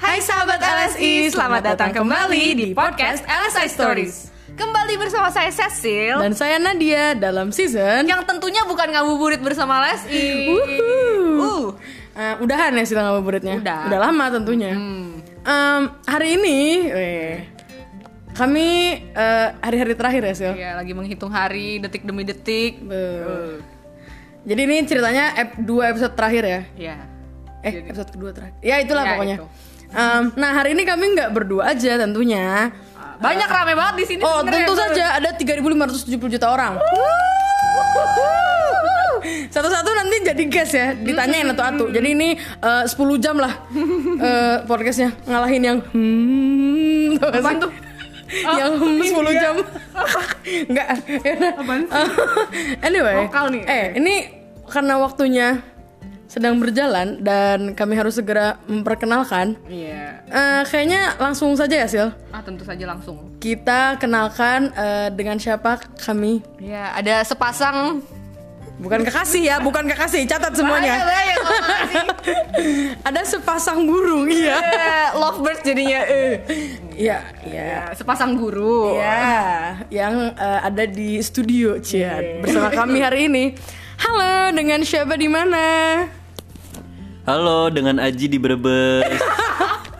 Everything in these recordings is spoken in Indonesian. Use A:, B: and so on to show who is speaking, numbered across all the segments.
A: Hai sahabat LSI, selamat datang kembali di podcast LSI Stories.
B: Kembali bersama saya Cecil
A: Dan saya Nadia dalam season
B: yang tentunya bukan ngabuburit bersama Lesti.
A: Wuhuu.
B: Uh.
A: Eh, udahan ya sila ngabuburitnya.
B: Udah.
A: Udah Hmm. lama tentunya.
B: Hmm.
A: Em, hari ini weh, kami eh, hari-hari terakhir ya Sil.
B: Ya, lagi menghitung hari detik demi detik.
A: Betul. Jadi ini ceritanya ep 2 episode terakhir ya.
B: Ya.
A: Eh episode kedua terakhir. Ya itulah
B: Ya,
A: pokoknya.
B: itu.
A: Em, nah hari ini kami nggak berdua aja tentunya.
B: Banyak rame banget di sini.
A: Oh
B: sebenarnya.
A: tentu saja ada 3.570 juta orang. Satu-satu nanti jadi guest ya Ditanyain atu-atu Jadi ini eh, 10 jam lah eh, podcastnya Ngalahin yang hmm tau gak sih?
B: Apaan tuh? Oh,
A: yang hmm, 10
B: iya.
A: jam Enggak ya udah.
B: Apaan sih?
A: Eh, Anyway
B: Vokal nih.
A: Eh ini karena waktunya sedang berjalan Dan kami harus segera memperkenalkan
B: Iya.
A: eh, Kayaknya langsung saja ya Sil
B: Ah, tentu saja langsung.
A: Kita kenalkan eh, dengan siapa kami
B: Ya, ada sepasang
A: Bukan kekasih ya, bukan kekasih. Catat
B: Bahaya
A: semuanya.
B: lah ya, ngomong sih.
A: Ada sepasang burung, iya.
B: Eh, lovebird jadinya. eh.
A: Iya, iya.
B: Ya, sepasang guru.
A: Iya, yang eh, ada di studio
B: Iya.
A: Cian bersama kami hari ini. Halo, dengan siapa di mana?
C: Halo, dengan Aji di Brebes.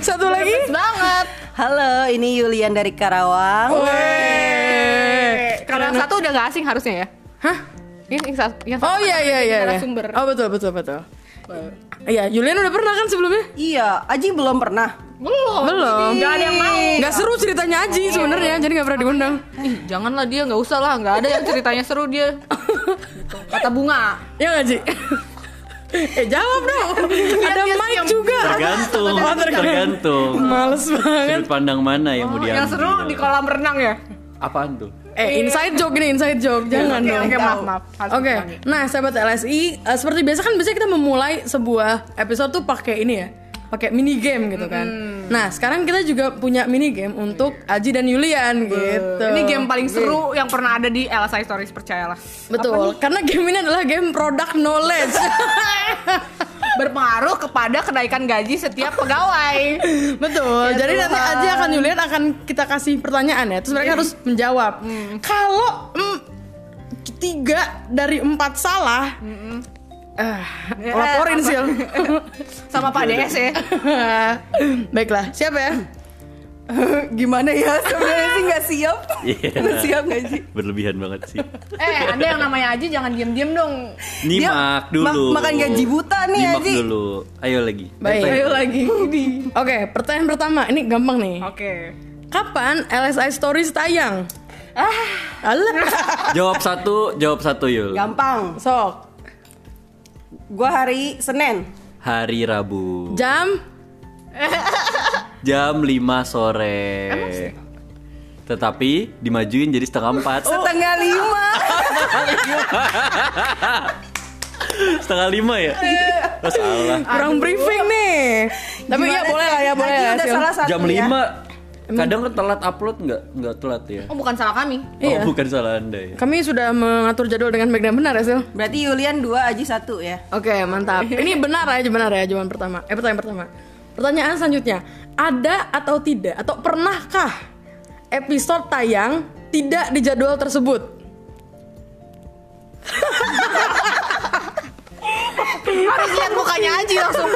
A: Satu lagi.
B: Bagus banget.
D: Halo, ini Yulian dari Karawang.
A: Weh.
B: Karena satu udah gak asing harusnya ya.
A: Hah?
B: Ini yang satu- yang kan,
A: Oh iya iya iya. iya.
B: Narasumber.
A: Oh betul betul betul. Iya, Julian udah pernah kan sebelumnya?
D: Iya, Aji belum pernah.
B: Belum.
A: Belum.
B: Gak ada yang mau.
A: Nggak seru ceritanya Aji
B: Iya.
A: sebenarnya, jadi nggak pernah diundang.
B: Ih, janganlah dia nggak usah lah, nggak ada yang ceritanya seru dia. Gitu. Kata bunga.
A: Ya nggak Ji? eh jawab dong. Ada
B: Diam, diam,
A: mic
B: diam.
A: juga.
C: Tergantung,
A: Oh,
C: tergantung.
A: Males banget.
C: Sudut pandang mana yang
D: Oh,
C: mau diambil?
B: yang seru di kolam renang ya.
C: Apaan tuh?
A: Eh inside joke ini inside joke jangan
B: Iya. Oke, oke,
A: dong.
B: maaf, maaf. Harus
A: Oke,
B: dikurangi.
A: nah sahabat LSI, eh, seperti biasa kan biasanya kita memulai sebuah episode tuh pakai ini ya, pakai mini game gitu kan. Nah sekarang kita juga punya mini game untuk Aji dan Yulian gitu.
B: Eh, Ini game paling seru yang pernah ada di LSI Stories percayalah.
A: betul, karena game ini adalah game product knowledge.
B: Berpengaruh kepada kenaikan gaji setiap pegawai.
A: Betul.
B: Ya
A: Jadi nanti
B: Tuhan.
A: Aji akan Yulian akan kita kasih pertanyaan ya, terus mereka harus menjawab. Kalau mm, tiga dari empat salah, eh,
B: Ya, apa-
A: laporin sih.
B: Sama Pak DS ya.
A: Baiklah, siap ya?
D: Gimana ya? Sebenarnya sih nggak siap.
C: Iya.
D: Nggak siap nggak sih?
C: Berlebihan banget sih.
B: Eh, Anda yang namanya Aji jangan diem-diem dong.
C: Nimak
D: Dia
C: dulu.
D: ma- makan gaji buta nih,
C: Nimak
D: Aji.
C: dulu. Ayo lagi.
A: Baik.
C: Ayo lagi.
A: Oke, pertanyaan pertama. Ini gampang nih.
B: Oke.
A: Kapan LSI Stories tayang? Ah, Alah.
C: Jawab satu, jawab satu Yul.
D: Gampang.
A: Sok.
D: Gua hari Senin.
C: Hari Rabu.
A: Jam
C: Jam 5 sore. Tetapi dimajuin jadi setengah empat.
D: Setengah lima.
C: Setengah lima ya?
D: Eh,
C: Oh, salah.
A: kurang briefing nih. Tapi ya
D: Gimana
A: boleh lah ya,
D: sih?
A: boleh
D: Aji
A: ya.
D: udah
A: Sil.
D: salah satu
C: Jam
D: ya.
C: 5 Kadang kan telat upload nggak? Nggak telat ya?
B: Oh, bukan salah kami.
A: Iya.
C: Oh, bukan salah anda ya?
A: Kami sudah mengatur jadwal dengan baik dan benar ya, Sil?
D: Berarti Yulian dua, Aji satu ya.
A: Oke, mantap. Ini benar aja, benar ya jawaban pertama. Eh, pertanyaan pertama. Pertanyaan selanjutnya, ada atau tidak atau pernahkah episode tayang tidak di jadwal tersebut?
B: Harus lihat mukanya Aji langsung.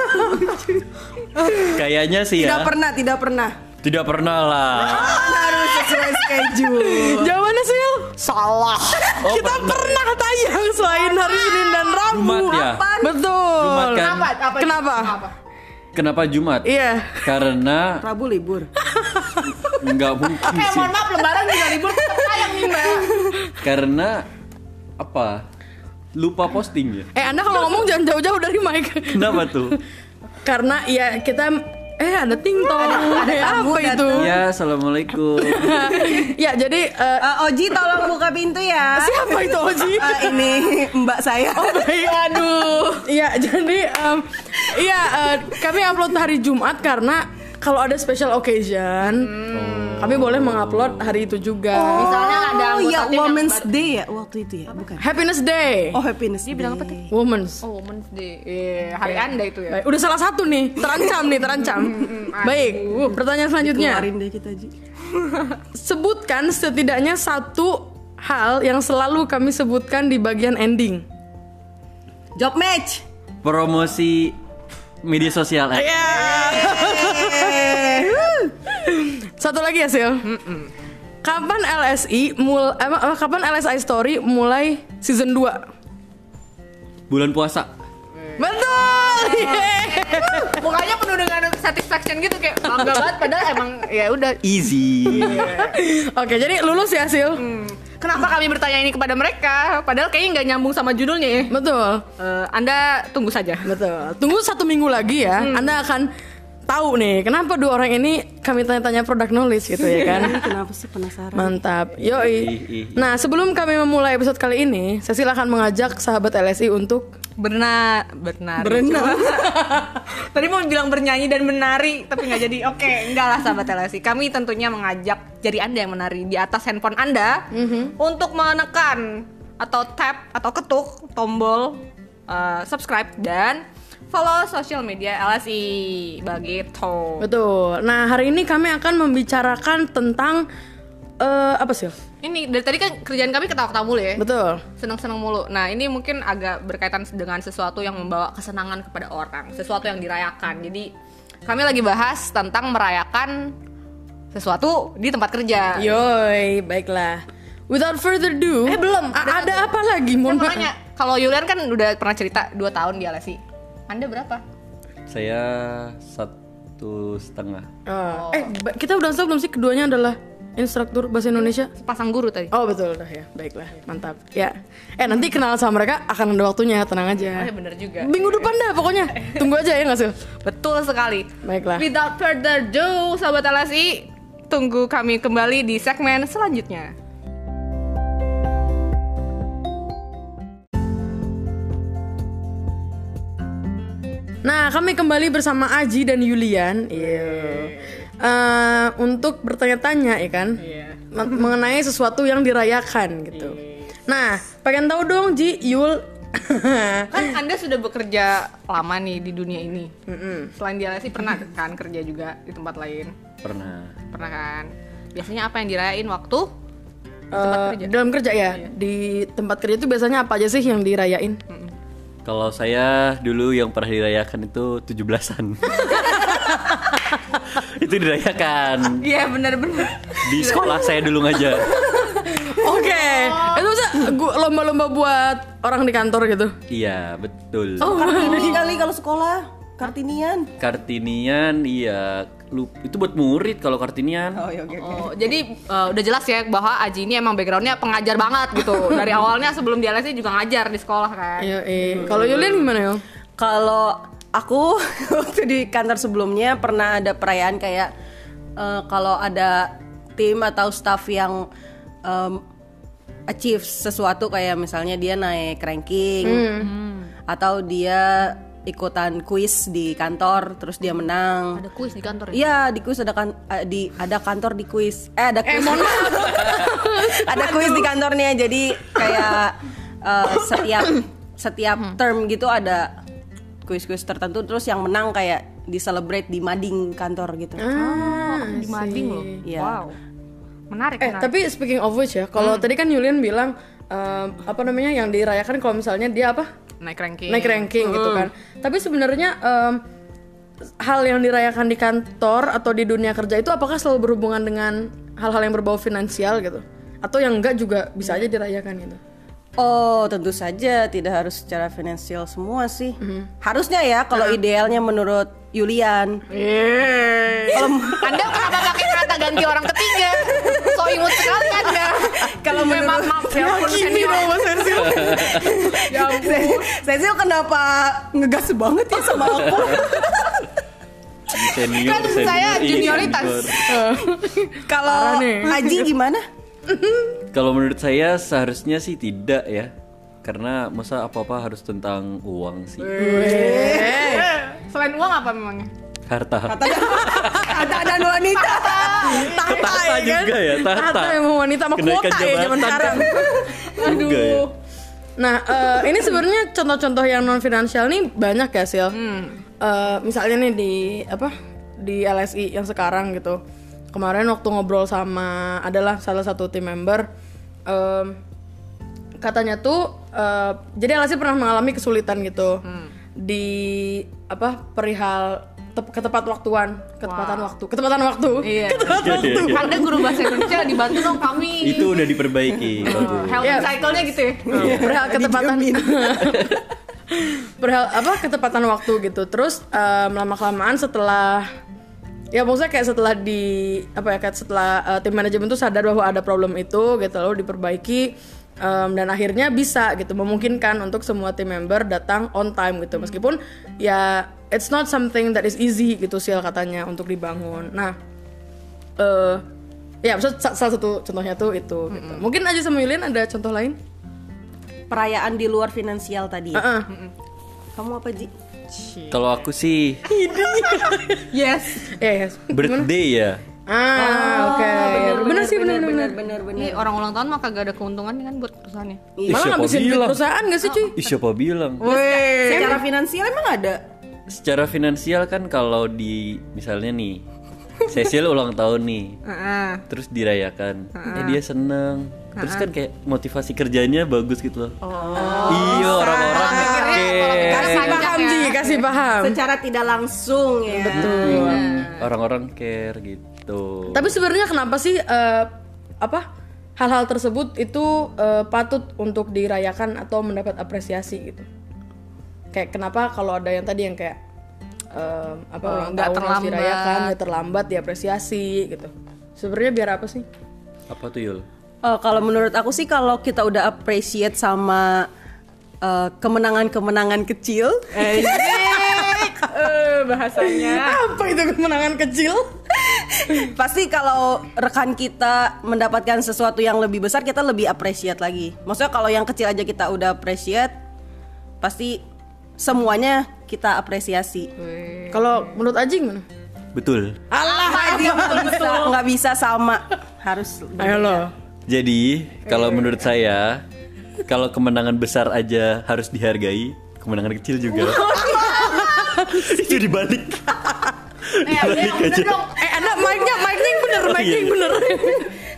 C: Kayaknya sih
D: Tidak
C: ya.
D: pernah, tidak pernah.
C: Tidak pernah lah.
D: Kan harus sesuai schedule.
A: Jawabannya Sil? Salah.
C: Oh,
A: Kita
C: pernah.
A: pernah tayang selain hari Senin dan Rabu.
C: Jumat ya?
D: Apaan?
A: Betul.
C: Jumat kan?
B: Apa? Apa?
A: Kenapa?
B: Apa?
C: Kenapa Jumat?
A: Iya.
C: Karena
D: Rabu libur.
C: nggak
B: Eh,
C: mungkin sih.
B: mohon maaf lebaran juga libur tetap tayang nih, Mbak.
C: Karena apa? Lupa posting ya.
A: Eh, Anda kalau ngomong jangan jauh-jauh dari mic.
C: Kenapa tuh?
A: Karena ya kita eh ada tingtong.
D: ada
A: Eh,
D: tamu
A: apa itu?
C: Ya, assalamualaikum.
A: ya jadi eh,
D: Eh, Oji tolong buka pintu ya.
A: siapa Oh, itu Oji?
D: Eh, ini Mbak saya. Oh,
A: Aduh. Iya jadi em, iya eh, kami upload hari Jumat karena kalau ada special occasion Kami boleh mengupload hari itu juga.
B: Misalnya ada
D: Oh
B: anggota
D: ya
B: tim yang
D: Women's
B: baru-
D: Day ya waktu itu ya, bukan?
A: Happiness Day.
D: Oh happiness. Dia bilang apa tadi?
A: Women's.
B: Oh, Women's Day. Iya, hari Anda itu ya.
A: Baik, udah salah satu nih, terancam nih, terancam. Baik, pertanyaan selanjutnya.
D: Keluarin deh kita Ji.
A: Sebutkan setidaknya satu hal yang selalu kami sebutkan di bagian ending.
D: Job match.
C: Promosi media sosial eh.
A: Satu lagi ya, Sil. Kapan LSI mul eh, apa- apa, kapan LSI Story mulai season 2?
C: Bulan puasa.
A: Betul. Iya.
B: Mukanya penuh dengan satisfaction gitu kayak bangga banget padahal emang ya udah.
C: Easy.
A: Oke, jadi lulus ya, Sil.
B: Hmm, Kenapa kami bertanya ini kepada mereka? Padahal kayaknya nggak nyambung sama judulnya ya.
A: Betul.
B: Eh, anda tunggu saja.
A: Betul. Tunggu satu minggu lagi ya. Anda akan tahu nih kenapa dua orang ini kami tanya-tanya product knowledge gitu ya kan.
D: Ini Kenapa sih penasaran?
A: Mantap. Yoi. Nah, sebelum kami memulai episode kali ini, saya silahkan mengajak sahabat LSI untuk
B: Berna berna
D: Berenang.
B: Tadi mau bilang bernyanyi dan menari tapi nggak jadi. Oke, enggak lah sahabat LSI. Kami tentunya mengajak jari Anda yang menari di atas handphone Anda untuk menekan atau tap atau ketuk tombol uh, subscribe dan follow social media LSI begitu.
A: Betul. Nah, hari ini kami akan membicarakan tentang eh, apa sih?
B: Ini dari tadi kan kerjaan kami ketawa-ketawa mulu ya.
A: Betul.
B: Seneng-seneng mulu. Nah, ini mungkin agak berkaitan dengan sesuatu yang membawa kesenangan kepada orang, sesuatu yang dirayakan. Jadi, kami lagi bahas tentang merayakan sesuatu di tempat kerja.
A: Iya, Yoi, baiklah. Without further ado,
B: Eh, belum.
A: a-
B: Udah
A: ada
B: satu.
A: apa lagi?
B: Saya
A: Mohon
B: mau
A: maaf.
B: nanya, Kan kalau Yulian kan udah pernah cerita 2 tahun di LSI. Anda berapa?
C: Saya satu setengah.
A: Oh. Eh, ba- kita udah tahu belum sih keduanya adalah instruktur bahasa Indonesia?
B: Sepasang guru tadi.
A: Oh betul udah ya, baiklah, mantap. Ya, eh nanti kenal sama mereka akan ada waktunya,
B: Oh,
A: tenang aja.
B: ya bener juga.
A: Minggu depan dah pokoknya, tunggu aja ya nggak sih?
B: Betul sekali.
A: Baiklah.
B: Without further ado, sahabat LSI, tunggu kami kembali di segmen selanjutnya.
A: Nah, kami kembali bersama Aji dan Yulian, iya. Eh, untuk bertanya-tanya ya kan, Men- mengenai sesuatu yang dirayakan gitu. Nah, pengen tahu dong Ji, Yul,
B: kan anda sudah bekerja lama nih di dunia ini selain di LSI pernah kan kerja juga di tempat lain
C: Pernah.
B: pernah kan biasanya apa yang dirayain waktu
A: eh, dalam kerja ya di tempat kerja itu biasanya apa aja sih yang dirayain?
C: Kalau saya dulu yang pernah dirayakan itu 17-an. itu dirayakan
B: iya benar-benar
C: di sekolah saya dulu ngajar.
A: Oke, itu maksudnya gua- lomba-lomba buat orang di kantor gitu.
C: Iya, betul.
D: Oh. Kartini kali kalau sekolah. Kartinian.
C: Kartinian iya lu, itu buat murid kalau Kartinian.
D: Oh ya oke oke.
B: oh, jadi eh, udah jelas ya bahwa Aji ini emang backgroundnya pengajar banget gitu dari awalnya sebelum di LSI juga ngajar di sekolah kan
A: Iya, eh. Kalau Yulian gimana ya?
D: Kalau aku waktu di kantor sebelumnya pernah ada perayaan kayak eh, kalau ada tim atau staff yang em, achieve sesuatu kayak misalnya dia naik ranking Hmm. atau dia ikutan kuis di kantor terus dia menang.
B: ada kuis di kantor ya
D: Iya di kuis ada kan eh, di ada kantor di kuis. Eh ada kuis. ada kuis di kantornya jadi kayak eh, setiap setiap term gitu ada kuis-kuis tertentu terus yang menang kayak di celebrate di mading kantor gitu.
B: Oh, di mading loh
D: Iya.
B: wow menarik
A: Eh,
B: menarik.
A: tapi speaking of which ya, kalau tadi kan Yulian bilang em, apa namanya yang dirayakan kalau misalnya dia apa
B: naik ranking
A: naik ranking gitu kan. Tapi sebenarnya em, hal yang dirayakan di kantor atau di dunia kerja itu apakah selalu berhubungan dengan hal-hal yang berbau finansial gitu? Atau yang enggak juga bisa aja dirayakan gitu?
D: Oh, tentu saja tidak harus secara finansial semua sih. Harusnya ya kalau idealnya menurut Yulian.
B: Anda kenapa pakai kata ganti orang ketiga? So imut sekali Anda. Kalau memang maaf ya ampun senior. Ya ampun.
D: Cecil kenapa ngegas banget ya sama aku?
C: Senior,
B: Kan saya
C: iya,
B: junioritas.
C: senior.
A: Parah
D: Kalau
A: nih.
D: Aji gimana?
C: Kalau menurut saya seharusnya sih tidak ya. Karena masa apa-apa harus tentang uang sih.
B: Selain uang apa memangnya?
C: Harta.
D: Ada dan wanita.
A: Tata, kan?
C: Tata juga ya, tata.
A: emang wanita sama
C: Kenaikan
A: kuota ya
C: jabatan.
A: zaman sekarang.
C: Juga ya.
A: Nah, eh, ini sebenarnya contoh-contoh yang non finansial nih banyak ya, Sil.
C: Hmm.
A: Eh, misalnya nih di apa? Di LSI yang sekarang gitu. Kemarin waktu ngobrol sama adalah salah satu tim member em, katanya tuh eh, jadi LSI pernah mengalami kesulitan gitu.
C: Hmm.
A: Di apa? perihal tep- ketepat waktuan, ketepatan waktu, ketepatan waktu.
B: Iya.
C: Iya, iya, iya.
B: Anda guru bahasa Indonesia dibantu dong kami.
C: Itu udah diperbaiki. bagus.
B: Health
A: Iya.
B: cycle-nya gitu ya.
A: perihal ketepatan perihal apa ketepatan waktu gitu terus lama kelamaan setelah ya maksudnya kayak setelah di apa ya kayak setelah eh, tim manajemen tuh sadar bahwa ada problem itu gitu lalu diperbaiki em, dan akhirnya bisa gitu memungkinkan untuk semua tim member datang on time gitu meskipun ya it's not something that is easy gitu sih katanya untuk dibangun nah eh ya maksudnya sa- salah satu contohnya tuh itu gitu. mungkin aja sama Yulian ada contoh lain
D: Perayaan di luar finansial tadi. ya?
A: Heeh.
D: Kamu apa, Ji?
C: Kalau aku sih
B: Yes.
A: Ya, ya.
C: birthday ya.
A: Ah, oke. Bener, sih, bener, bener.
D: benar benar benar.
B: Ini orang ulang tahun mah kagak ada keuntungan kan buat perusahaannya.
C: Ih,
A: Malah
C: siapa
A: ngabisin duit
B: Iya,
C: bilang?
A: perusahaan gak sih, cuy?
C: Ih, siapa bilang?
A: Weh.
D: Secara finansial emang ada.
C: Secara finansial kan kalau di misalnya nih Cecil ulang tahun nih,
B: Heeh.
C: terus dirayakan, eh, dia seneng. Terus kan kayak motivasi kerjanya bagus gitu loh. iya orang-orang
B: Iya.
C: kayak
A: Kasih paham, Ji. Kasih paham.
D: Secara tidak langsung ya.
C: Iya. orang-orang care gitu.
A: Tapi sebenarnya kenapa sih eh, apa hal-hal tersebut itu eh, patut untuk dirayakan atau mendapat apresiasi gitu? Kayak kenapa kalau ada yang tadi yang kayak eh, apa
B: Oh,
A: ulang
B: nggak
A: tahun harus
B: terlambat.
A: dirayakan, nggak terlambat diapresiasi gitu. Sebenarnya biar apa sih?
C: Apa tuh Yul?
D: Eh, kalau menurut aku sih kalau kita udah appreciate sama eh, kemenangan-kemenangan kecil,
B: Eh, bahasanya.
A: Apa itu kemenangan kecil?
D: pasti kalau rekan kita mendapatkan sesuatu yang lebih besar kita lebih appreciate lagi. Maksudnya kalau yang kecil aja kita udah appreciate, pasti semuanya kita apresiasi.
B: Iya.
A: Kalau menurut Aji gimana?
C: Betul.
A: Alah,
D: Nggak bisa, nggak bisa sama, harus.
A: Ayo lo.
C: Jadi, kalau menurut saya, kalau kemenangan besar aja harus dihargai, kemenangan kecil juga. Itu dibalik. dibalik aja.
A: Eh, ada mic-nya, mic-nya yang bener, mic-nya yang bener.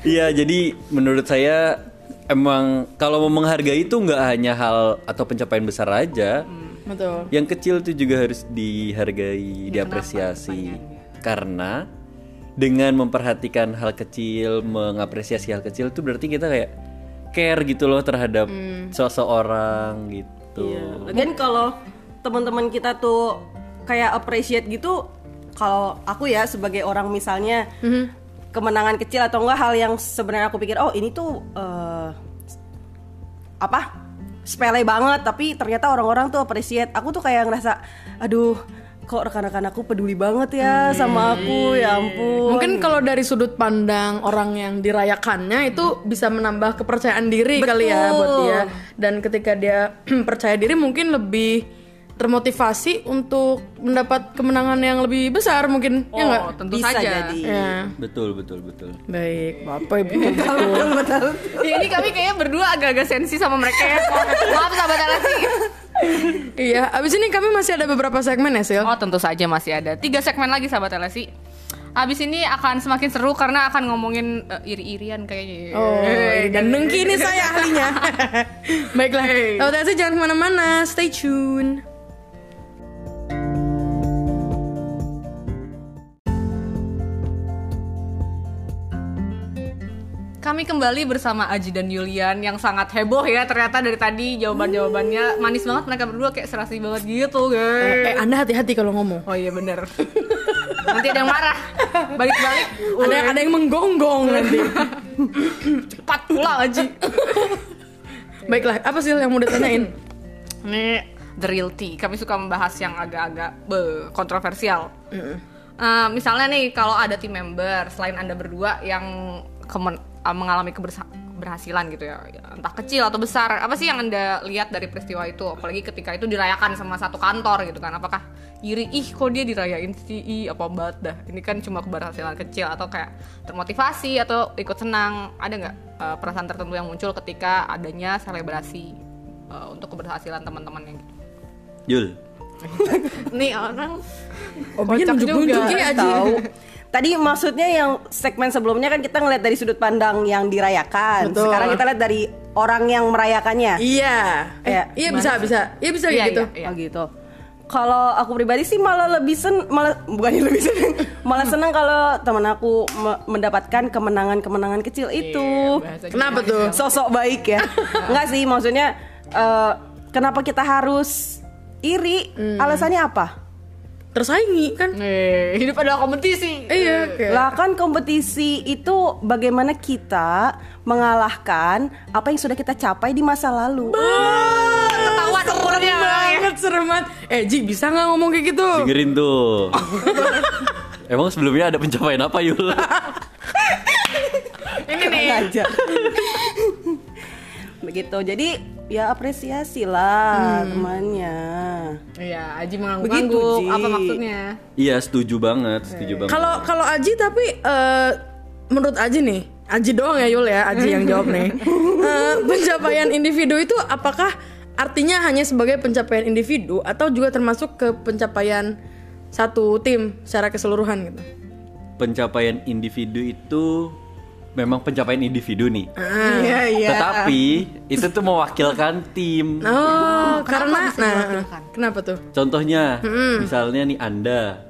C: Iya, jadi menurut saya emang kalau mau menghargai itu nggak hanya hal atau pencapaian besar aja.
A: Hmm. Betul.
C: Yang kecil itu juga harus dihargai, diapresiasi. Karena dengan memperhatikan hal kecil, mengapresiasi hal kecil itu berarti kita kayak care gitu loh terhadap seseorang gitu.
D: Lagian kalau teman-teman kita tuh kayak appreciate gitu, kalau aku ya sebagai orang misalnya
B: Mm-hmm.
D: kemenangan kecil atau enggak hal yang sebenarnya aku pikir oh ini tuh eh, apa sepele banget tapi ternyata orang-orang tuh appreciate. Aku tuh kayak ngerasa aduh kok rekan-rekan aku peduli banget ya sama aku ya
B: Mm-hmm.
D: ampun.
A: Mungkin kalau dari sudut pandang orang yang dirayakannya itu bisa menambah kepercayaan diri kali ya buat dia. Dan ketika dia percaya diri mungkin lebih termotivasi untuk mendapat kemenangan yang lebih besar mungkin ya enggak?
B: Oh, tentu
D: Bisa
B: saja.
D: jadi.
A: Ya.
C: Betul, betul, betul.
A: Baik, apa ibu?
B: Ya, ini kami kayaknya berdua agak-agak sensi sama mereka ya. Maaf sahabat Alasi.
A: iya, abis ini kami masih ada beberapa segmen ya, Sil.
B: Oh tentu saja masih ada tiga segmen lagi sahabat Alasi. Abis ini akan semakin seru karena akan ngomongin eh, iri-irian kayaknya. ya.
A: Oh, dan nengki ini saya ahlinya. Baiklah,
B: Hey.
A: hey. aja jangan kemana-mana, stay tune.
B: Kami kembali bersama Aji dan Yulian yang sangat heboh ya ternyata dari tadi jawaban-jawabannya manis banget mereka berdua kayak serasi banget gitu
A: Eh,
B: guys.
A: anda hati-hati kalau ngomong.
B: Oh iya bener Nanti ada yang marah Balik-balik
A: Ada ada yang menggonggong nanti.
B: cepat pulang Aji
A: Baiklah, apa sih yang mau ditanyain?
B: Ini the real tea. Kami suka membahas yang agak-agak be- kontroversial. Eh, misalnya nih kalau ada tim member selain anda berdua yang kemen- eh, mengalami kebersa- keberhasilan gitu ya entah kecil atau besar apa sih yang anda lihat dari peristiwa itu apalagi ketika itu dirayakan sama satu kantor gitu kan apakah iri ih kok dia dirayain sih Ih, apa banget dah ini kan cuma keberhasilan kecil atau kayak termotivasi atau ikut senang ada nggak eh, perasaan tertentu yang muncul ketika adanya selebrasi eh, untuk keberhasilan teman-teman yang gitu
C: Jul.
B: nih orang Kocak
A: Obinya nunjuk-nunjuk
B: juga.
A: ya Aji.
D: tahu. Tadi maksudnya yang segmen sebelumnya kan kita ngeliat dari sudut pandang yang dirayakan.
A: Betul.
D: Sekarang kita lihat dari orang yang merayakannya.
A: Iya. Eh,
D: Iya.
A: iya bisa bisa. Iya bisa
B: Ya, Iya,
A: kayak gitu.
B: iya.
D: Oh gitu. Kalau aku pribadi sih malah lebih sen malah bukannya lebih seneng, malah seneng kalau teman aku me- mendapatkan kemenangan-kemenangan kecil itu.
B: bahasa
A: Kenapa tuh?
D: Sosok baik ya. Enggak sih, maksudnya eh, kenapa kita harus iri? Alasannya apa?
A: Tersaingi kan?
B: Eh, hidup adalah kompetisi.
A: Eh, Iya, kayak-
D: Lah kan kompetisi itu bagaimana kita mengalahkan apa yang sudah kita capai di masa lalu.
B: Ketahuan umurnya.
A: Ah, banget serem banget. Eh Ji bisa nggak ngomong kayak gitu?
C: Dengerin tuh. Emang sebelumnya ada pencapaian apa Yul?
B: Ini nih.
D: aja. Begitu. Jadi ya apresiasi lah
A: Hmm.
D: temannya.
B: Iya, Aji
D: Begitu,
B: mengangguk-angguk.
D: Ji.
B: Apa maksudnya?
C: iya setuju banget, setuju banget.
A: Kalau kalau Aji tapi eh, menurut Aji nih, Aji doang ya Yul ya, Aji yang jawab nih. Eh, pencapaian individu itu apakah artinya hanya sebagai pencapaian individu atau juga termasuk ke pencapaian satu tim secara keseluruhan gitu?
C: pencapaian individu itu memang pencapaian individu nih.
B: Iya,
C: Tetapi itu tuh mewakilkan tim.
A: Oh, karena
B: bisa
A: nah,
B: diwakilkan?
A: kenapa tuh?
C: Contohnya,
A: Hmm.
C: misalnya nih Anda,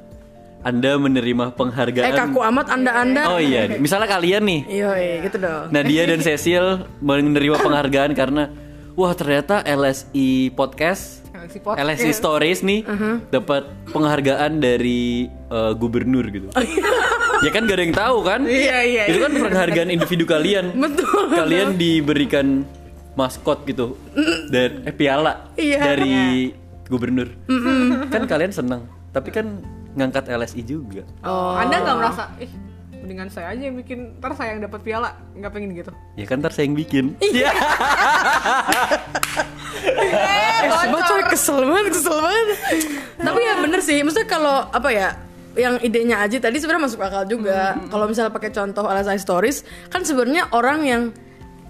C: Anda menerima penghargaan.
A: Eh kaku amat anda-anda.
C: Ya, Oh iya, nih. misalnya kalian nih,
A: Iya, iya, gitu dong.
C: Nadia dan Cecil menerima penghargaan karena wah ternyata LSI podcast,
B: LSI podcast. Uh-huh.
C: LSI Stories nih dapat penghargaan dari eh, gubernur gitu. ya kan gak ada yang tahu kan?
B: Oh, Iya, iya,
C: Itu kan penghargaan individu kalian.
A: Betul.
C: Kalian diberikan maskot gitu dan eh, piala
A: Iya.
C: dari gubernur. Kan kalian seneng, tapi kan ngangkat LSI juga.
B: Oh. Anda nggak merasa, ih, mendingan saya aja yang bikin, ntar saya yang dapat piala, nggak pengen gitu.
C: Ya kan ntar saya yang bikin.
B: Iya.
A: Eh, sumpah, coy, kesel banget, kesel banget. Tapi ya bener sih, maksudnya kalau apa ya? yang idenya aja tadi sebenarnya masuk akal juga. Kalau misalnya pakai contoh LSI Stories, kan sebenarnya orang yang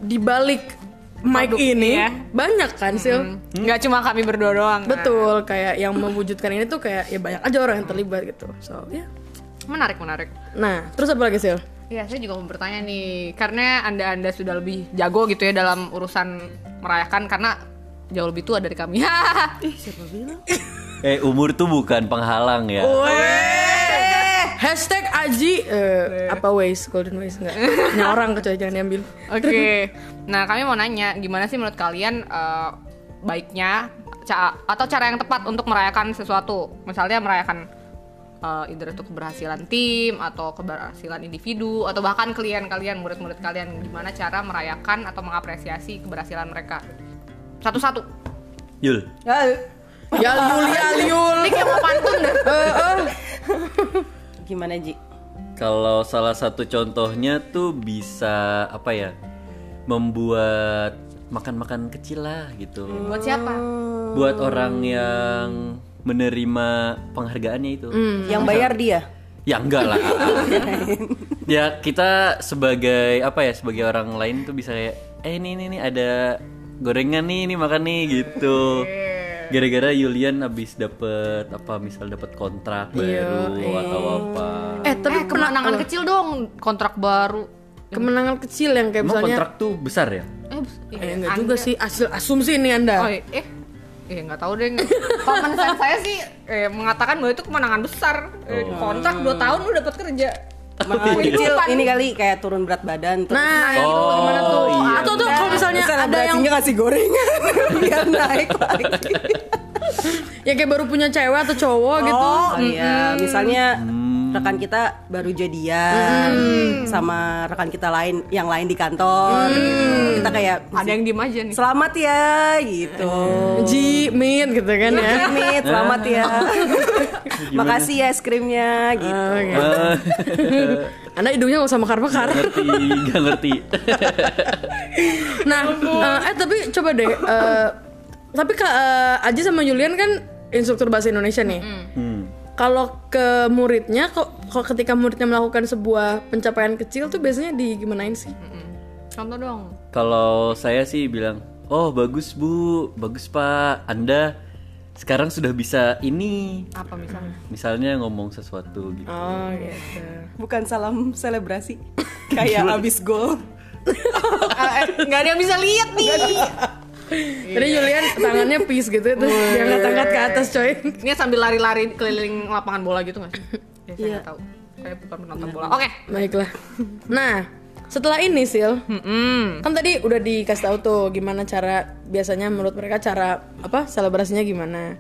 A: dibalik mic
B: Produk,
A: ini
B: ya.
A: banyak kan,
B: Hmm.
A: Sil.
B: Nggak cuma kami berdua doang. kan?
A: Betul, kayak yang mewujudkan ini tuh kayak ya banyak aja orang yang terlibat gitu. So, ya.
B: Menarik, menarik.
A: Nah, terus apa lagi, Sil?
B: Ya, saya juga mau bertanya nih, karena anda-anda sudah lebih jago gitu ya dalam urusan merayakan, karena jauh lebih tua dari kami.
C: Eh umur tuh bukan penghalang ya.
B: Oh.
A: Hashtag Aji eh, apa ways golden ways enggak? Punya orang kecuali jangan diambil.
B: Oke. Nah, kami mau nanya, gimana sih menurut kalian eh, baiknya ca- atau cara yang tepat untuk merayakan sesuatu? Misalnya merayakan eh either itu keberhasilan tim atau keberhasilan individu atau bahkan klien kalian, murid-murid kalian gimana cara merayakan atau mengapresiasi keberhasilan mereka? Satu-satu.
C: Yul,
A: Ya Yulia Liul.
B: Ini
A: Eh,
B: kayak Iya, mau pantun deh.
D: Gimana Ji?
C: Kalau salah satu contohnya tuh bisa apa ya? Membuat makan-makan kecil lah gitu.
B: Buat siapa?
C: Buat orang yang menerima penghargaannya itu.
A: Hmm.
D: Yang bayar dia.
C: Ya enggak lah. ya kita sebagai apa ya? Sebagai orang lain tuh bisa kayak eh ini ini, ini ada gorengan nih, ini makan nih gitu. Gara-gara Julian abis dapet apa misal dapet kontrak baru atau apa.
A: Eh, tapi
B: Eh, kemenangan kecil dong, kontrak baru.
A: kemenangan kecil yang kayak
C: Emang
A: misalnya
C: kontrak tuh besar ya?
B: Eh, bes-
A: eh, enggak juga sih hasil asumsi ini
B: Oh,
A: anda
B: eh, eh, eh, nggak tahu deh. Common sense saya sih eh, mengatakan bahwa itu kemenangan besar. Eh, kontrak 2 tahun lu dapat kerja.
D: Makan
B: Kehidupan.
D: kecil ini
B: kan-
D: kali kayak turun berat badan terus.
A: Iya. nah
C: Oh,
A: itu gimana tuh
C: iya.
A: atau tuh kalau misalnya ada
D: Terus
A: yang
D: selebrasinya ngasih gorengan biar naik lagi.
B: Oh,
A: yang kayak baru punya cewek atau cowok gitu
D: Oh iya, Oh, misalnya rekan kita baru jadian sama rekan kita lain yang lain di kantor gitu. kita kayak
B: Ada yang diem aja nih.
D: selamat ya gitu
A: Ji, Min gitu
B: Eh.
A: kan ya.
D: Mit, selamat ya
C: Gimana?
D: makasih ya es krimnya gitu
B: Eh.
C: Ah,
A: Oh, Anda hidungnya nggak usah mekar-mekar.
C: ngerti nggak ngerti
A: Nah, eh, eh tapi coba deh. eh, tapi kak eh, Aji sama Julian kan instruktur bahasa Indonesia nih.
C: Hmm.
A: Kalau ke muridnya, kok kok ketika muridnya melakukan sebuah pencapaian kecil tuh biasanya digimanain sih?
B: Contoh dong.
C: Kalau saya sih bilang, oh bagus bu, bagus pak, anda sekarang sudah bisa ini.
B: Apa misalnya?
C: Misalnya ngomong sesuatu gitu.
A: Oh gitu.
D: bukan salam selebrasi kayak abis gol
B: Ah, eh, Nggak ada yang bisa lihat nih.
A: Jadi Julian tangannya peace gitu itu dia angkat-angkat ke atas coy.
B: Ini sambil lari-lari keliling lapangan bola gitu nggak sih? Ya, saya nggak tahu. Saya bukan penonton bola. Oke.
A: Baiklah. Nah, setelah ini Sil,
B: Mm-mm.
A: kan tadi udah dikasih tahu tuh gimana cara biasanya menurut mereka cara apa selebrasinya gimana.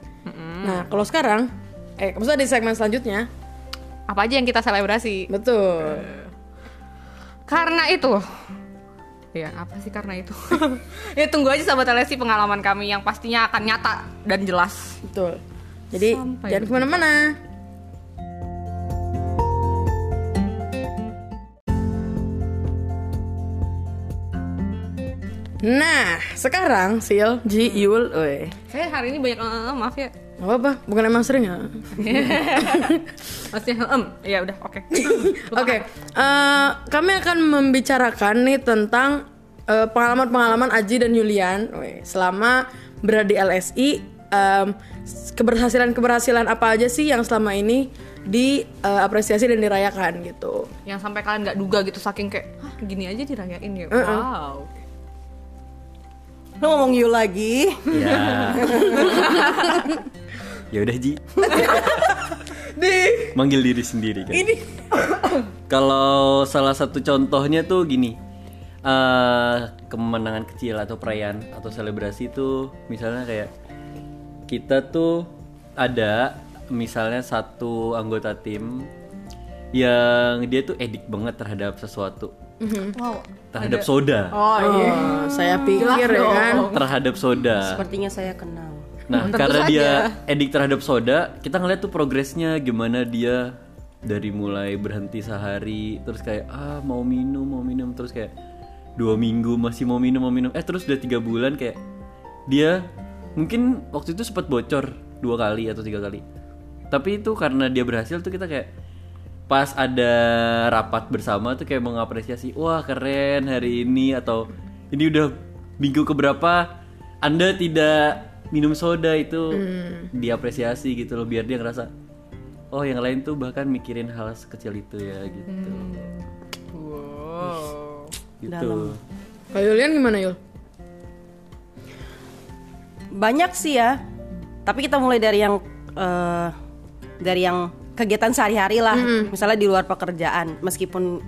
A: Nah, kalau sekarang eh maksudnya di segmen selanjutnya,
B: Apa aja yang kita selebrasi?
A: betul.
B: Karena itu Ya apa sih karena itu Ya tunggu aja sahabat LSI pengalaman kami Yang pastinya akan nyata dan jelas
A: Betul. Jadi
B: Sampai
A: jangan kemana mana Nah, sekarang Sil, Ji, Yul, weh.
B: Saya hari ini banyak eh, eh, maaf ya
A: Gak apa-apa, bukan emang sering ya?
B: Maksudnya em, ya udah oke
A: Oke, eh, kami akan membicarakan nih tentang eh, pengalaman-pengalaman Aji dan Yulian weh, selama berada di LSI. em, keberhasilan-keberhasilan apa aja sih yang selama ini diapresiasi dan dirayakan gitu?
B: Yang sampai kalian nggak duga gitu saking kayak Hah gini aja dirayain
A: Eh,
B: ya Wow
D: lo ngomong you lagi
C: Ya. ya udah Ji,
A: Di
C: manggil diri sendiri kan.
A: ini
C: Kalau salah satu contohnya tuh gini, eh kemenangan kecil atau perayaan atau selebrasi itu misalnya kayak kita tuh ada misalnya satu anggota tim yang dia tuh edik banget terhadap sesuatu,
B: Wow
C: terhadap soda,
B: Oh iya
A: Oh, saya pikir ya kan.
C: terhadap soda.
D: sepertinya saya kenal
C: Nah, karena dia edik terhadap soda, kita ngeliat tuh progresnya gimana dia dari mulai berhenti sehari, terus kayak ah mau minum, mau minum, terus kayak dua minggu masih mau minum, mau minum, eh terus udah tiga bulan kayak dia mungkin waktu itu sempat bocor dua kali atau tiga kali, tapi itu karena dia berhasil tuh kita kayak pas ada rapat bersama tuh kayak mengapresiasi wah keren hari ini atau ini udah minggu keberapa anda tidak minum soda itu
D: Hmm.
C: diapresiasi gitu loh biar dia ngerasa oh yang lain tuh bahkan mikirin hal sekecil itu ya gitu
D: Hmm.
C: gitu
A: Kalau Yulian gimana Yul?
D: banyak sih ya tapi kita mulai dari yang eh, dari yang kegiatan sehari-hari lah misalnya di luar pekerjaan meskipun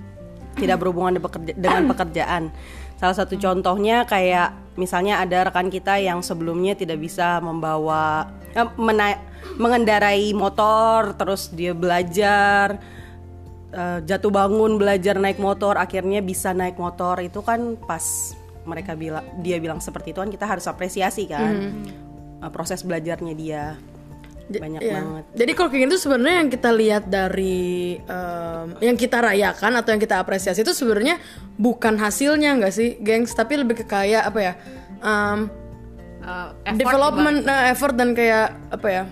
D: tidak berhubungan de- pekerja- dengan pekerjaan salah satu contohnya kayak misalnya ada rekan kita yang sebelumnya tidak bisa membawa eh, mena- mengendarai motor terus dia belajar eh, jatuh bangun belajar naik motor akhirnya bisa naik motor itu kan pas mereka bilang dia bilang seperti itu kan kita harus apresiasi kan eh, proses belajarnya dia
A: J-
D: banyak
A: ya.
D: banget
A: Jadi kalau kayak gitu sebenarnya yang kita lihat dari em, yang kita rayakan atau yang kita apresiasi itu sebenarnya bukan hasilnya nggak sih, gengs? Tapi lebih ke kayak apa ya? em,
B: Eh, effort
A: development eh, effort dan kayak apa ya?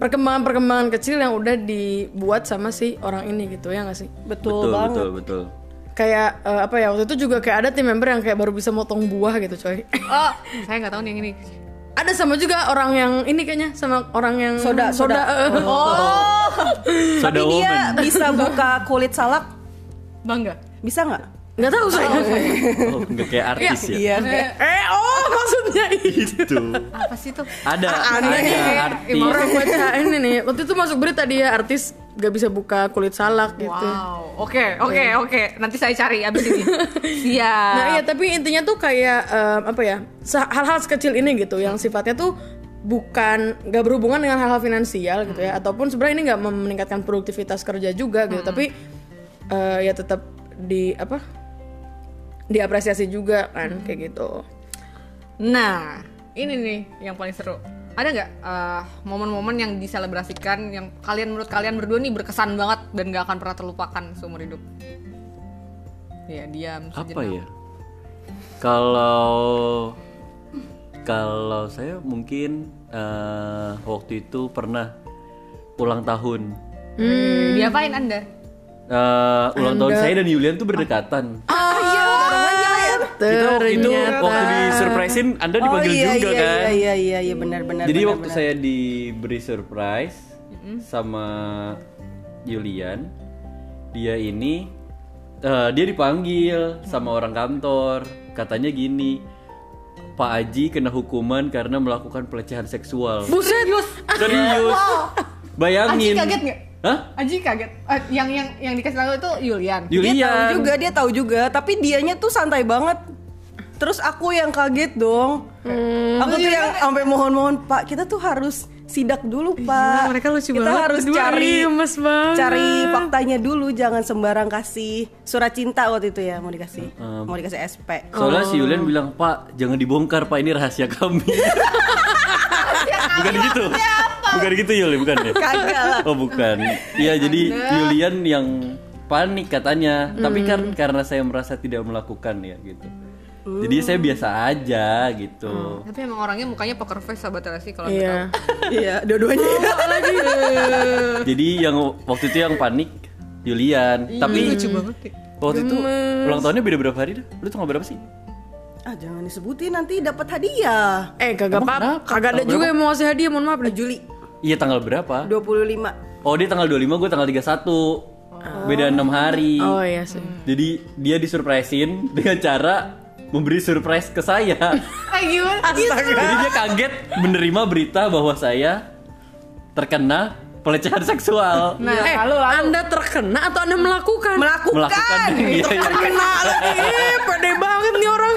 A: Perkembangan-perkembangan kecil yang udah dibuat sama si orang ini gitu ya nggak sih?
D: betul,
C: betul
D: banget
C: betul betul
A: Kayak eh, apa ya? Waktu itu juga kayak ada tim member yang kayak baru bisa motong buah gitu, coy.
B: Oh saya nggak tahu nih yang ini
A: ada sama juga orang yang ini kayaknya sama orang yang soda soda, eh, eh.
C: soda
D: tapi dia
C: woman
D: bisa buka kulit salak
B: Bangga
D: bisa nggak
A: nggak tahu saya
C: oh nggak kayak artis
D: Iya.
C: ya
A: eh oh maksudnya itu
C: itu
B: Apa sih tuh
C: ada
D: Ah,
A: aneh
C: ada
A: ya.
C: artis
A: orang baca ini nih waktu itu masuk berita dia artis gak bisa buka kulit salak gitu Iya.
B: Wow, oke, oke, oke. Nanti saya cari abis ini. Siap.
A: eh, Nah iya tapi intinya tuh kayak em, apa ya se- hal-hal sekecil ini gitu yang sifatnya tuh bukan nggak berhubungan dengan hal-hal finansial gitu ya ataupun sebenarnya ini nggak meningkatkan produktivitas kerja juga gitu tapi eh, ya tetap di apa diapresiasi juga kan kayak gitu
B: Nah, ini nih yang paling seru. Ada nggak eh, momen-momen yang diselebrasikan yang kalian menurut kalian berdua nih berkesan banget dan nggak akan pernah terlupakan seumur hidup? Ya diam.
C: apa
B: sejenak.
C: ya kalau kalau saya mungkin eh, waktu itu pernah ulang tahun
B: Hmm, Diapain anda?
C: Eh, ulang tahun saya dan Yulian tuh berdekatan
D: Ah, iya,
C: kita waktu itu waktu di surprisein Anda dipanggil
D: iya,
C: juga
D: iya,
C: kan
D: Iya iya iya iya benar benar.
C: jadi
D: benar,
C: waktu
D: benar.
C: saya diberi surprise sama Yulian dia ini eh, dia dipanggil sama orang kantor katanya gini Pak Aji kena hukuman karena melakukan pelecehan seksual
A: buset
C: serius bayangin
B: Aji kaget nggak?
C: Hah?
B: Aji kaget. Eh, yang yang yang dikasih tahu itu Yulian.
D: dia tahu
C: Yulian
D: juga dia tahu juga tapi dianya tuh santai banget. Terus aku yang kaget dong.
A: Hmm.
D: Aku tuh yang sampai mohon-mohon Pak kita tuh harus sidak dulu
A: Iya,
D: Pak.
A: mereka lucu
D: kita
A: banget
D: harus
A: berdua.
D: cari
A: Ih, gemes banget.
D: cari faktanya dulu jangan sembarang kasih surat cinta waktu itu ya mau dikasih mau dikasih SP.
C: soalnya si Yulian
B: Oh.
C: bilang Pak jangan dibongkar Pak ini rahasia kami bukan gitu bukan gitu Yuli bukan ya
D: Kagak lah.
C: Oh bukan. Iya jadi Julian yang panik katanya. Tapi
B: Hmm.
C: kan karena saya merasa tidak melakukan ya gitu. Jadi
B: Oh.
C: saya biasa aja gitu.
B: Tapi emang orangnya mukanya poker face sahabat Terasi kalau Anda
A: iya
D: Iya, dua-duanya ya.
C: Jadi yang waktu itu yang panik Julian.
B: tahu.
C: Tapi
B: Ih, lucu banget. ya. deh.
C: waktu itu ulang tahunnya beda berapa hari dah? Lu tanggal berapa sih?
D: Ah, jangan disebutin nanti dapat hadiah.
A: eh kagak apa kagak ada juga yang mau ngasih hadiah mohon maaf deh Juli
C: Iya tanggal berapa?
D: 25.
C: Oh dia tanggal 25 gue tanggal 31. Beda 6 hari.
A: oh iya sih
C: Jadi dia disurprisein dengan cara memberi surprise ke saya.
B: Eh gimana?
C: Jadi dia kaget menerima berita bahwa saya terkena pelecehan seksual.
B: Nah,
A: eh
B: lalu lalu
A: anda terkena atau anda melakukan
D: Iya, Melakukan.
C: Melakukan iya, iya.
A: terkena lagi Ih, pede banget nih orang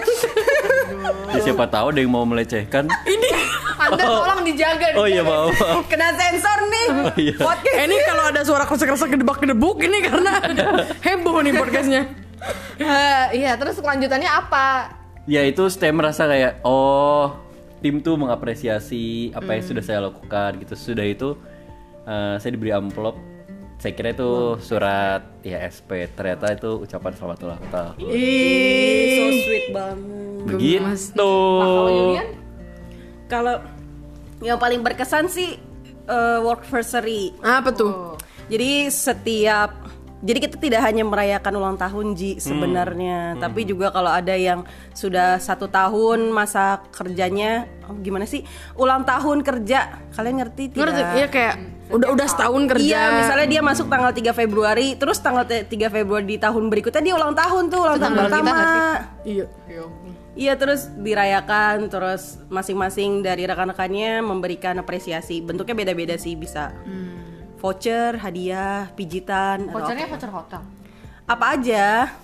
C: Ya, siapa tahu ada yang mau melecehkan.
A: ini
B: Anda tolong dijaga.
C: Oh iya maaf. maaf.
D: Kena sensor nih.
C: Oh, iya.
D: Podcast.
A: Eh, ini kalau ada suara kresek-kresek gedebak-gedebuk ini karena heboh nih podcastnya
B: Eh, iya, terus kelanjutannya apa?
C: Ya itu saya merasa kayak oh tim tuh mengapresiasi apa
A: Hmm.
C: yang sudah saya lakukan gitu. Sudah itu eh, saya diberi amplop. Saya kira itu surat ya SP. Ternyata itu ucapan selamat ulang tahun.
A: Ih,
D: So sweet banget.
C: Begitu.
B: Yulian?
D: Kalau yang paling berkesan sih eh, workversary.
A: apa tuh
D: Jadi setiap jadi kita tidak hanya merayakan ulang tahun Ji
A: Hmm.
D: sebenarnya, tapi juga kalau ada yang sudah satu tahun masa kerjanya oh, gimana sih ulang tahun kerja kalian ngerti tidak?
A: ngerti ya kayak udah udah setahun kerja
D: Oh, Iya, misalnya dia masuk tanggal 3 Februari, terus tanggal te- 3 Februari di tahun berikutnya dia ulang tahun tuh, ulang tahun pertama.
A: iya
D: Iya, terus dirayakan, terus masing-masing dari rekan-rekannya memberikan apresiasi. Bentuknya beda-beda sih, bisa
A: Hmm.
D: voucher, hadiah, pijitan, atau
B: Vouchernya voucher hotel.
D: apa aja.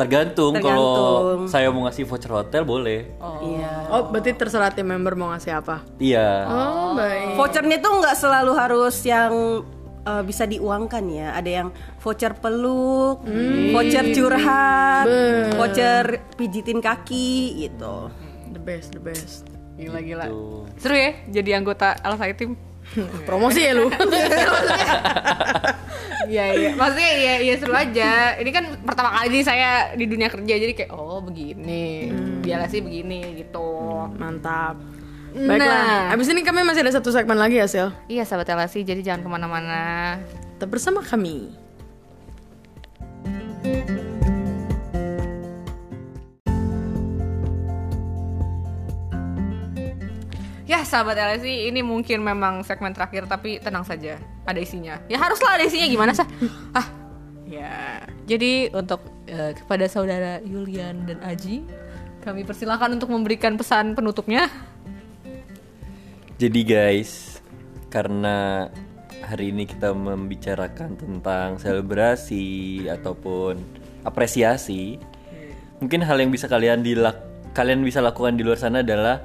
C: Tergantung,
D: Tergantung.
C: kalau saya mau ngasih voucher hotel boleh.
D: Iya.
A: oh berarti terserah tim member mau ngasih apa
C: Iya.
A: oh baik
D: Vouchernya tuh nggak selalu harus yang eh, bisa diuangkan ya. Ada yang voucher peluk, voucher curhat, voucher pijitin kaki gitu.
A: the best the best
B: Gila gila. Seru ya jadi anggota Alsai Team.
A: promosi ya lu
B: Iya iya. Maksudnya iya iya seru aja. Ini kan pertama kali nih saya di dunia kerja jadi kayak oh begini. Bialah sih begini gitu.
A: Hmm. mantap
B: Nah.
A: baiklah abis ini kami masih ada satu segmen lagi ya Sil
B: Iya sahabat Alasi, jadi jangan kemana-mana.
A: tetap bersama kami
B: Ya sahabat LSI ini mungkin memang segmen terakhir tapi tenang saja ada isinya. Ya haruslah ada isinya gimana sah? ah ya jadi untuk eh, kepada saudara Yulian dan Aji kami persilahkan untuk memberikan pesan penutupnya.
C: Jadi guys, karena hari ini kita membicarakan tentang selebrasi ataupun apresiasi, mungkin hal yang bisa kalian dilak kalian bisa lakukan di luar sana adalah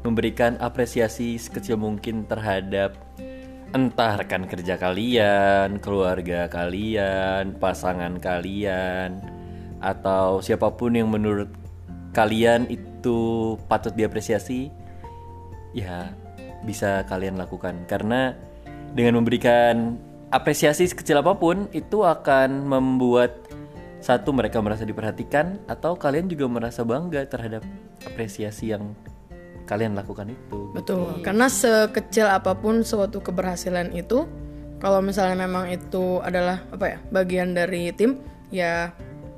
C: memberikan apresiasi sekecil mungkin terhadap entah rekan kerja kalian, keluarga kalian, pasangan kalian, atau siapapun yang menurut kalian itu patut diapresiasi, ya bisa kalian lakukan karena dengan memberikan apresiasi sekecil apapun itu akan membuat satu mereka merasa diperhatikan atau kalian juga merasa bangga terhadap apresiasi yang kalian lakukan itu.
A: Betul. Karena sekecil apapun suatu keberhasilan itu, kalau misalnya memang itu adalah apa ya bagian dari tim, ya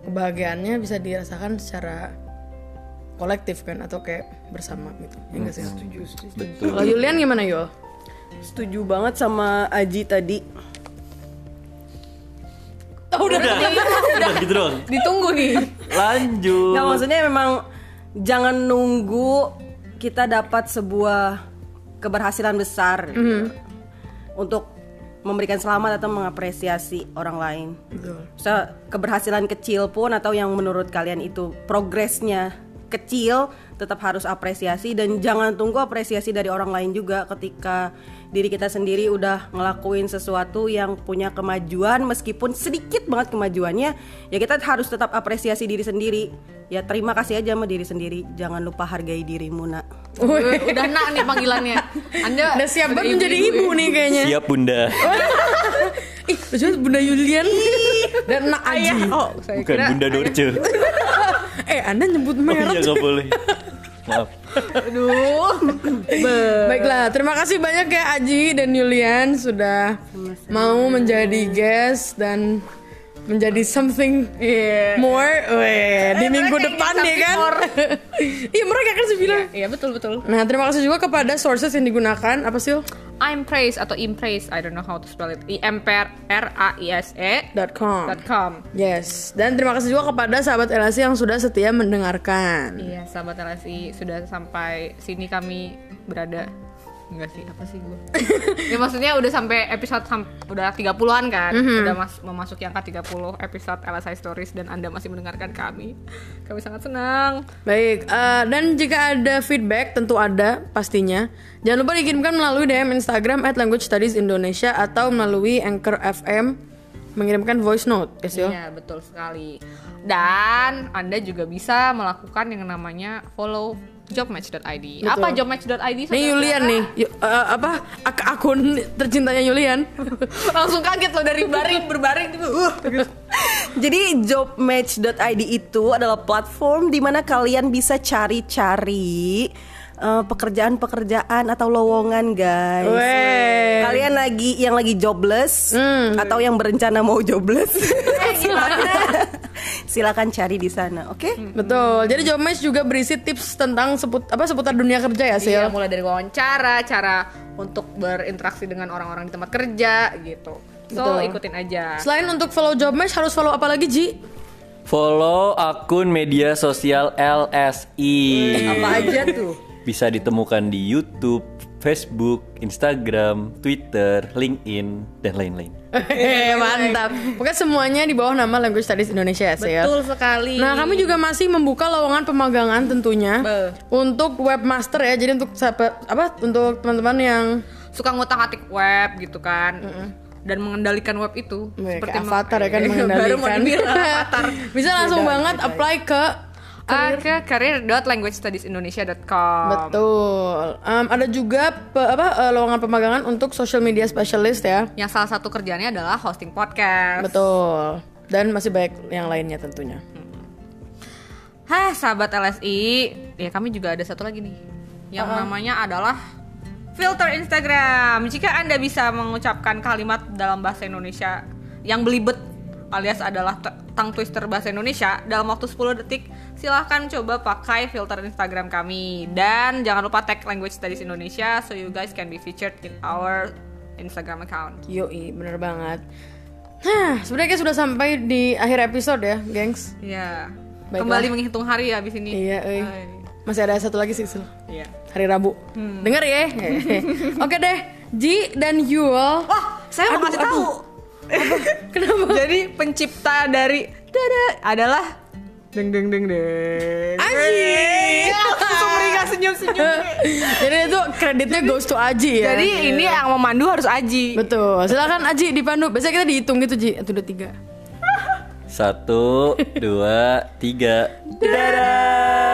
A: kebahagiaannya bisa dirasakan secara kolektif kan atau kayak bersama gitu. Ya nggak sih?
C: Betul.
A: Kalau Yulian gimana Yul?
D: Setuju banget sama Aji tadi.
A: Oh, udah,
C: Udah gitu doang.
A: ditunggu nih.
C: Lanjut.
D: Nah, maksudnya memang jangan nunggu kita dapat sebuah keberhasilan besar gitu, untuk memberikan selamat atau mengapresiasi orang lain.
A: Betul.
D: Bisa keberhasilan kecil pun atau yang menurut kalian itu progresnya kecil tetap harus apresiasi dan jangan tunggu apresiasi dari orang lain juga ketika diri kita sendiri udah ngelakuin sesuatu yang punya kemajuan meskipun sedikit banget kemajuannya ya kita harus tetap apresiasi diri sendiri ya terima kasih aja sama diri sendiri jangan lupa hargai dirimu nak
B: Eh, udah nak nih panggilannya. Anda ya.
A: Udah siap banget menjadi
B: ibu-ibu
A: ibu Iya. nih kayaknya.
C: Siap bunda.
B: Oh,
A: Ih, lucunya Bunda Yulian dan Nak Aji.
B: Oh, saya
C: Bukan
B: kira-
C: bunda Dorce.
A: Eh, Anda nyebut
C: Oh
A: merek.
C: iya nggak boleh. Maaf.
B: Aduh.
A: Baiklah, terima kasih banyak ya Aji dan Yulian sudah mau menjadi guest dan menjadi something
B: Iya. Eh,
A: more Weh, di minggu
B: mereka
A: depan
B: ingin
A: ya kan. Iya, mereka kan sebilang.
B: Iya betul betul.
A: Nah, terima kasih juga kepada sources yang digunakan. Apa sih?
B: I'm praise atau impraise, I don't know how to spell it. I M P R A I S E
A: .com.
B: dot com.
A: Yes, dan terima kasih juga kepada sahabat LSI yang sudah setia mendengarkan.
B: Iya, sahabat LSI sudah sampai sini kami berada. Enggak sih, apa sih gue? ya maksudnya udah sampai episode sam- udah 30-an kan?
A: Mhm.
B: Udah mas memasuki angka 30 episode LSI Stories dan Anda masih mendengarkan kami. Kami sangat senang.
A: Baik, eh, dan jika ada feedback tentu ada pastinya. Jangan lupa dikirimkan melalui DM Instagram at Language Studies Indonesia atau melalui Anchor FM mengirimkan voice note, guys yo.
B: Iya, betul sekali. Dan Anda juga bisa melakukan yang namanya follow jobmatch.id. Apa jobmatch.id?
A: Nih
B: saudara?
A: Yulian nih, Yu- eh, apa ak- akun tercintanya Yulian?
B: Langsung kaget loh dari baring berbaring gitu. Uh,
D: Jadi jobmatch.id itu adalah platform di mana kalian bisa cari-cari eh, pekerjaan-pekerjaan atau lowongan, guys.
A: Weh.
D: Kalian lagi yang lagi jobless atau yang berencana mau jobless, silakan cari di sana, oke?
A: Hmm. Betul. Jadi Job Match juga berisi tips tentang seput apa seputar dunia kerja ya, Sil.
B: Iya, mulai dari wawancara, cara untuk berinteraksi dengan orang-orang di tempat kerja gitu. So,
A: Betul.
B: ikutin aja.
A: Selain untuk follow Job Match harus follow apa lagi, Ji?
C: Follow akun media sosial LSI.
D: Apa aja tuh?
C: Bisa ditemukan di YouTube, Facebook, Instagram, Twitter, LinkedIn, dan lain-lain.
A: Eh, mantap. Pokoknya semuanya di bawah nama Language Studies Indonesia ya, Sil.
B: Betul sekali.
A: Nah, kami juga masih membuka lowongan pemagangan tentunya
B: Be.
A: untuk webmaster ya. Jadi untuk siapa apa untuk teman-teman yang
B: suka ngotak-atik web gitu kan. Dan mengendalikan web itu
A: Weh, kayak
B: meng-
A: avatar ya kan
B: Baru mau
A: mengendalikan.
B: dibilang avatar.
A: Bisa langsung banget apply ke
B: Ah, ke career.languagestudiesindonesia.com.
A: Betul. Em, ada juga pe- apa eh, lowongan pemagangan untuk social media specialist ya.
B: Yang salah satu kerjaannya adalah hosting podcast.
A: Betul. Dan masih banyak yang lainnya tentunya.
B: Hah, sahabat LSI, ya kami juga ada satu lagi nih. Yang
A: Uh-uh.
B: namanya adalah filter Instagram. Jika Anda bisa mengucapkan kalimat dalam bahasa Indonesia yang belibet alias adalah t- tongue twister bahasa Indonesia dalam waktu 10 detik, silahkan coba pakai filter Instagram kami. Dan jangan lupa tag language studies Indonesia so you guys can be featured in our Instagram account.
A: Yoi, bener banget. Nah, sebenarnya kita sudah sampai di akhir episode ya, gengs.
B: Ya.
A: Baiklah.
B: Kembali menghitung hari ya abis ini.
A: Iya, euy.
B: Hai.
A: Masih ada satu lagi sih, Sil.
B: Iya.
A: hari Rabu. Dengar ya. Oke deh, Ji dan Yul.
B: Wah, saya mau
A: Aduh,
B: kasih
A: aduh.
B: tahu. Kenapa? Jadi pencipta dari Dada adalah deng deng deng deng.
A: Anjing.
B: Langsung beri kasih senyum-senyum.
A: Jadi itu kreditnya goes to Aji ya.
B: Jadi ini yang memandu harus Aji.
A: betul. Silakan Aji dipandu. Biasanya kita dihitung gitu Ji. Itu udah tiga.
C: Satu, dua, tiga.
A: Dadah.